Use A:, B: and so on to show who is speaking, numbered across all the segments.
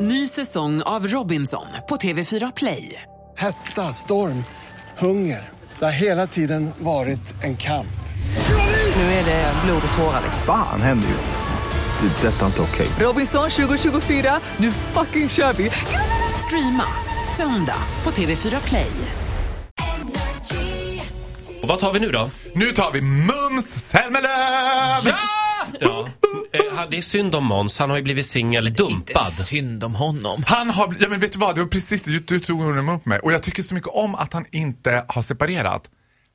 A: Ny säsong av Robinson på TV4 Play.
B: Hetta, storm, hunger. Det har hela tiden varit en kamp.
A: Nu är det blod och tårar.
C: Fan händer just nu. Det. är Detta är inte okej.
A: Robinson 2024, nu fucking kör vi! Streama söndag på TV4 Play.
D: Och vad tar vi nu då?
E: Nu tar vi Mums Zelmerlöw!
D: Ja. Eh, han- Det är synd om Måns, han har ju blivit singel, dumpad.
F: Inte synd om honom.
E: Han har, bl- ja men vet du vad, det var precis det, du, du tog honom upp mig. Och jag tycker så mycket om att han inte har separerat.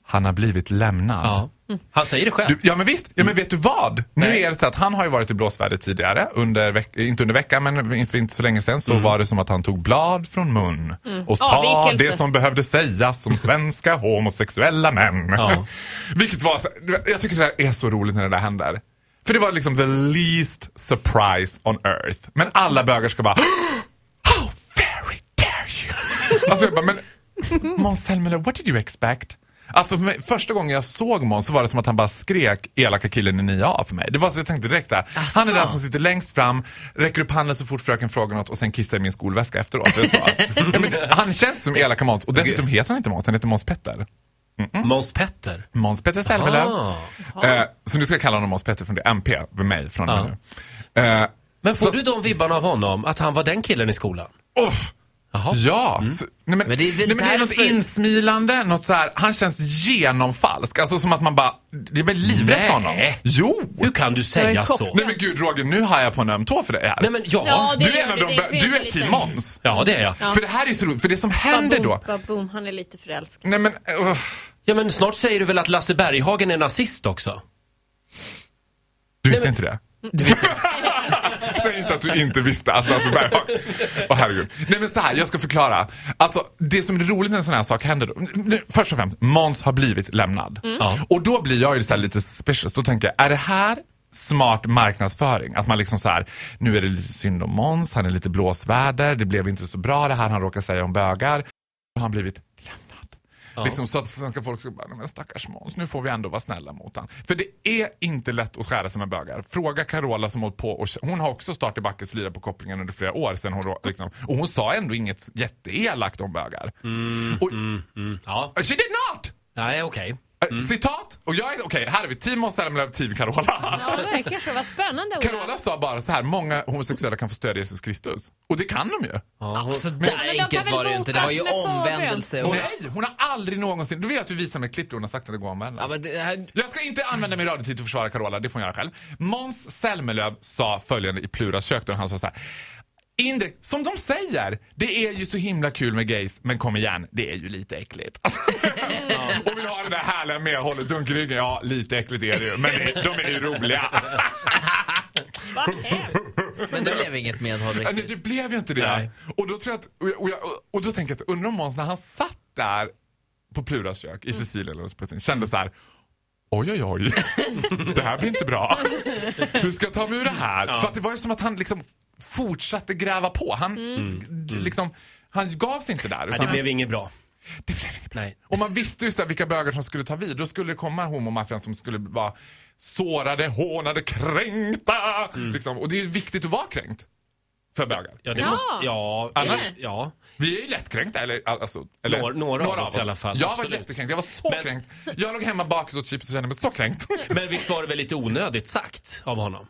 E: Han har blivit lämnad.
D: Ja. Han säger det själv.
E: Du, ja men visst, ja men vet du vad? Nu
D: Mm. Nej.
E: är det så att han har ju varit i blåsväder tidigare, under veck- inte under veckan men för inte så länge sedan så
D: Mm.
E: var det som att han tog blad från mun och sa
G: Avvikelse.
E: det som behövde sägas som svenska homosexuella män.
D: Ja.
E: Vilket var, så- jag tycker det här är så roligt när det där händer. För det var liksom the least surprise on earth. Men alla bögar ska bara How very dare you! Alltså jag bara, men Måns Zelmerlöw, what did you expect? Alltså för mig, första gången jag såg Måns så var det som att han bara skrek elaka killen i 9A för mig. Det var så jag tänkte direkt såhär, han är den som sitter längst fram, räcker upp handen så fort fröken frågar något och sen kissar i min skolväska efteråt. Vet du vad? ja, men, han känns som elaka Måns och dessutom heter han inte Måns, han heter Måns Petter.
D: Måns Petter.
E: Måns Petter Zelmerlöw. Eh, så nu ska jag kalla honom Måns Petter från det, MP, för mig från och med nu. Eh,
D: Men får
E: Så-
D: du de vibbarna av honom, att han var den killen i skolan?
E: Uff.
D: Jaha. Mm.
E: Ja, så, nej, men,
F: Men det är väl
E: nej, men det är något
F: därför-
E: insmilande, något så här, han känns genomfalsk. Alltså som att man bara, det är väl livrädd för honom.
D: Nej.
E: Jo!
D: Hur kan du
G: Jag
D: säga
G: är chock.
D: så?
E: Nej men gud Roger, nu har jag på en öm tå för dig här.
D: Nej men ja.
G: Ja, det
E: du är
G: gör
E: en av
G: det.
E: de,
G: Det
E: bö-
G: finns
E: du
G: en
E: är
G: liten-
E: team Måns.
D: Ja, det är jag.
E: För det här är ju så roligt, för det som händer
G: Baboom,
E: då.
G: baboom, han är lite förälskad.
E: Nej men, uff.
D: Ja men snart säger du väl att Lasse Berghagen är nazist också?
E: Du visste inte det? Säg inte att du inte visste. Alltså, alltså Berghagen. Åh herregud. Nej men så här, jag ska förklara. Alltså det som är roligt när en sån här sak händer då. nu, Först och främst, Måns har blivit lämnad.
D: Ja.
E: Och då blir jag ju så här lite suspicious. Då tänker jag, är det här smart marknadsföring? Att man liksom så här, nu är det lite synd om Måns, han är lite blåsväder, det blev inte så bra det här han råkar säga om bögar. Då har han blivit lämnad. Liksom så att svenska folk ska bara, "Nej, men stackars Måns, nu får vi ändå vara snälla mot han. För det är inte lätt att skära sig med bögar. Fråga Carola som hållit på och hon har också start i backens lyra på kopplingen under flera år sedan hon rå- liksom, och hon sa ändå inget jätteelakt om bögar. och, Äh,
D: Ja.
E: She did not!
D: Nej okej.
E: Eh, Citat! Och jag är, okej, här är vi team Måns Zelmerlöw, team Carola.
G: Ja, verkligen. Det var spännande. Ola.
E: Carola sa bara så här, många homosexuella kan få stödja Jesus Kristus. Och det kan de ju.
D: Ja, hon-
F: Så
G: men
F: där
G: de kan
F: enkelt
G: väl
F: var det ju inte. Det var ju
G: botas med förbön.
F: omvändelse. Och,
E: Nej, hon har aldrig någonsin, du vet att du visar mig ett klipp där hon har sagt att det går att omvända.
F: ja, men det här,
E: Jag ska inte använda min radiotid till att försvara Carola, det får hon göra själv. Måns Zelmerlöw sa följande i Pluras kök då han sa så här. Indirekt, som de säger, det är ju så himla kul med gays, men kom igen, det är ju lite äckligt. Och vill ha det där härliga medhållet, dunk i ryggen, ja lite äckligt är det ju, men det, de är ju roliga.
G: Vad hemskt.
F: men det blev inget medhåll
E: Ja, Nej,
F: riktigt.
E: det blev ju inte det.
D: Nej.
E: Och då tror jag att, och, jag- och, jag, och då tänker jag att undrar om Måns när han satt där på Pluras kök
D: Mm.
E: i Sicilien eller Spanien kände så här Oj, oj, oj. Det här blir inte bra. Hur ska jag ta mig ur det här? För att det var ju som att han liksom fortsatte gräva på. Han, d- liksom, han gav sig inte där.
D: Mm. Nej,
E: Utan
D: det blev inget bra.
E: det blev inget bra.
D: Nej.
E: Och man visste ju så här vilka bögar som skulle ta vid. Då skulle det komma homomaffian som skulle vara sårade, hånade, kränkta. Liksom. Och det är ju viktigt att vara kränkt. För bögar.
D: Mm. Ja, det
G: Ja.
D: Måste, ja,
E: Annars-
D: ja.
E: Vi är ju lättkränkta, eller, alltså, eller
D: Några- några av oss i alla fall,
E: Jag
D: absolut.
E: var jättekränkt, jag var så
D: Men-
E: kränkt. Jag låg hemma bakis och chips och kände mig så kränkt.
D: Men visst var det väl lite onödigt sagt av honom?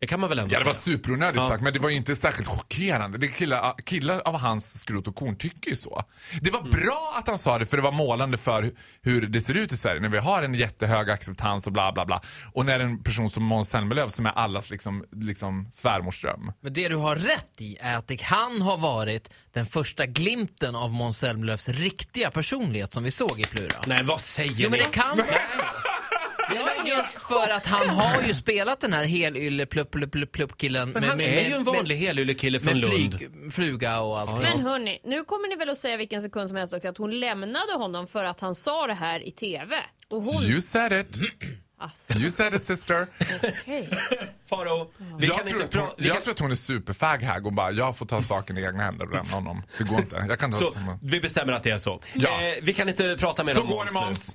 D: Det kan man väl ändå
E: Ja, det var
D: säga?
E: superonödigt
D: Ja.
E: sagt, men det var ju inte särskilt chockerande. Det killar, killar av hans skrot och korn tycker ju så. Det
D: Mm.
E: var bra att han sa det, för det var målande för hu- hur det ser ut i Sverige. När vi har en jättehög acceptans och bla bla bla. Och när en person som Måns Zelmerlöw, som är allas liksom, liksom svärmorsdröm.
F: Men det du har rätt i är att det kan ha varit den första glimten av Måns Zelmerlöws riktiga personlighet som vi såg i Plura.
D: Nej, vad säger
F: Jo men
D: ni?
F: det kan vara så. Nej, men just för att han har ju spelat den här helylle plupp plupp plupp plupp killen
D: Men
F: med,
D: han
F: med,
D: är
F: med,
D: ju en
F: med-
D: vanlig helyllekille från
F: med
D: Lund.
F: flyg, fluga och allt.
G: Men hörni, nu kommer ni väl att säga vilken sekund som helst också att hon lämnade honom för att han sa det här i TV. Och hon...
E: You said it,
G: Alltså,
E: you said it sister.
G: okej.
D: Faro, vi
E: jag
D: kan
E: tror,
D: inte
E: att hon,
D: prata... vi
E: jag
D: kan-
E: tror att hon är superfag här och bara jag får ta saken i egna händer och lämna honom. Det går inte. Jag kan inte
D: Så,
E: ha samma.
D: vi bestämmer att det är så.
E: Ja.
D: Eh, vi kan inte prata mer
E: Så
D: om
E: går det
D: nu.
E: Måns!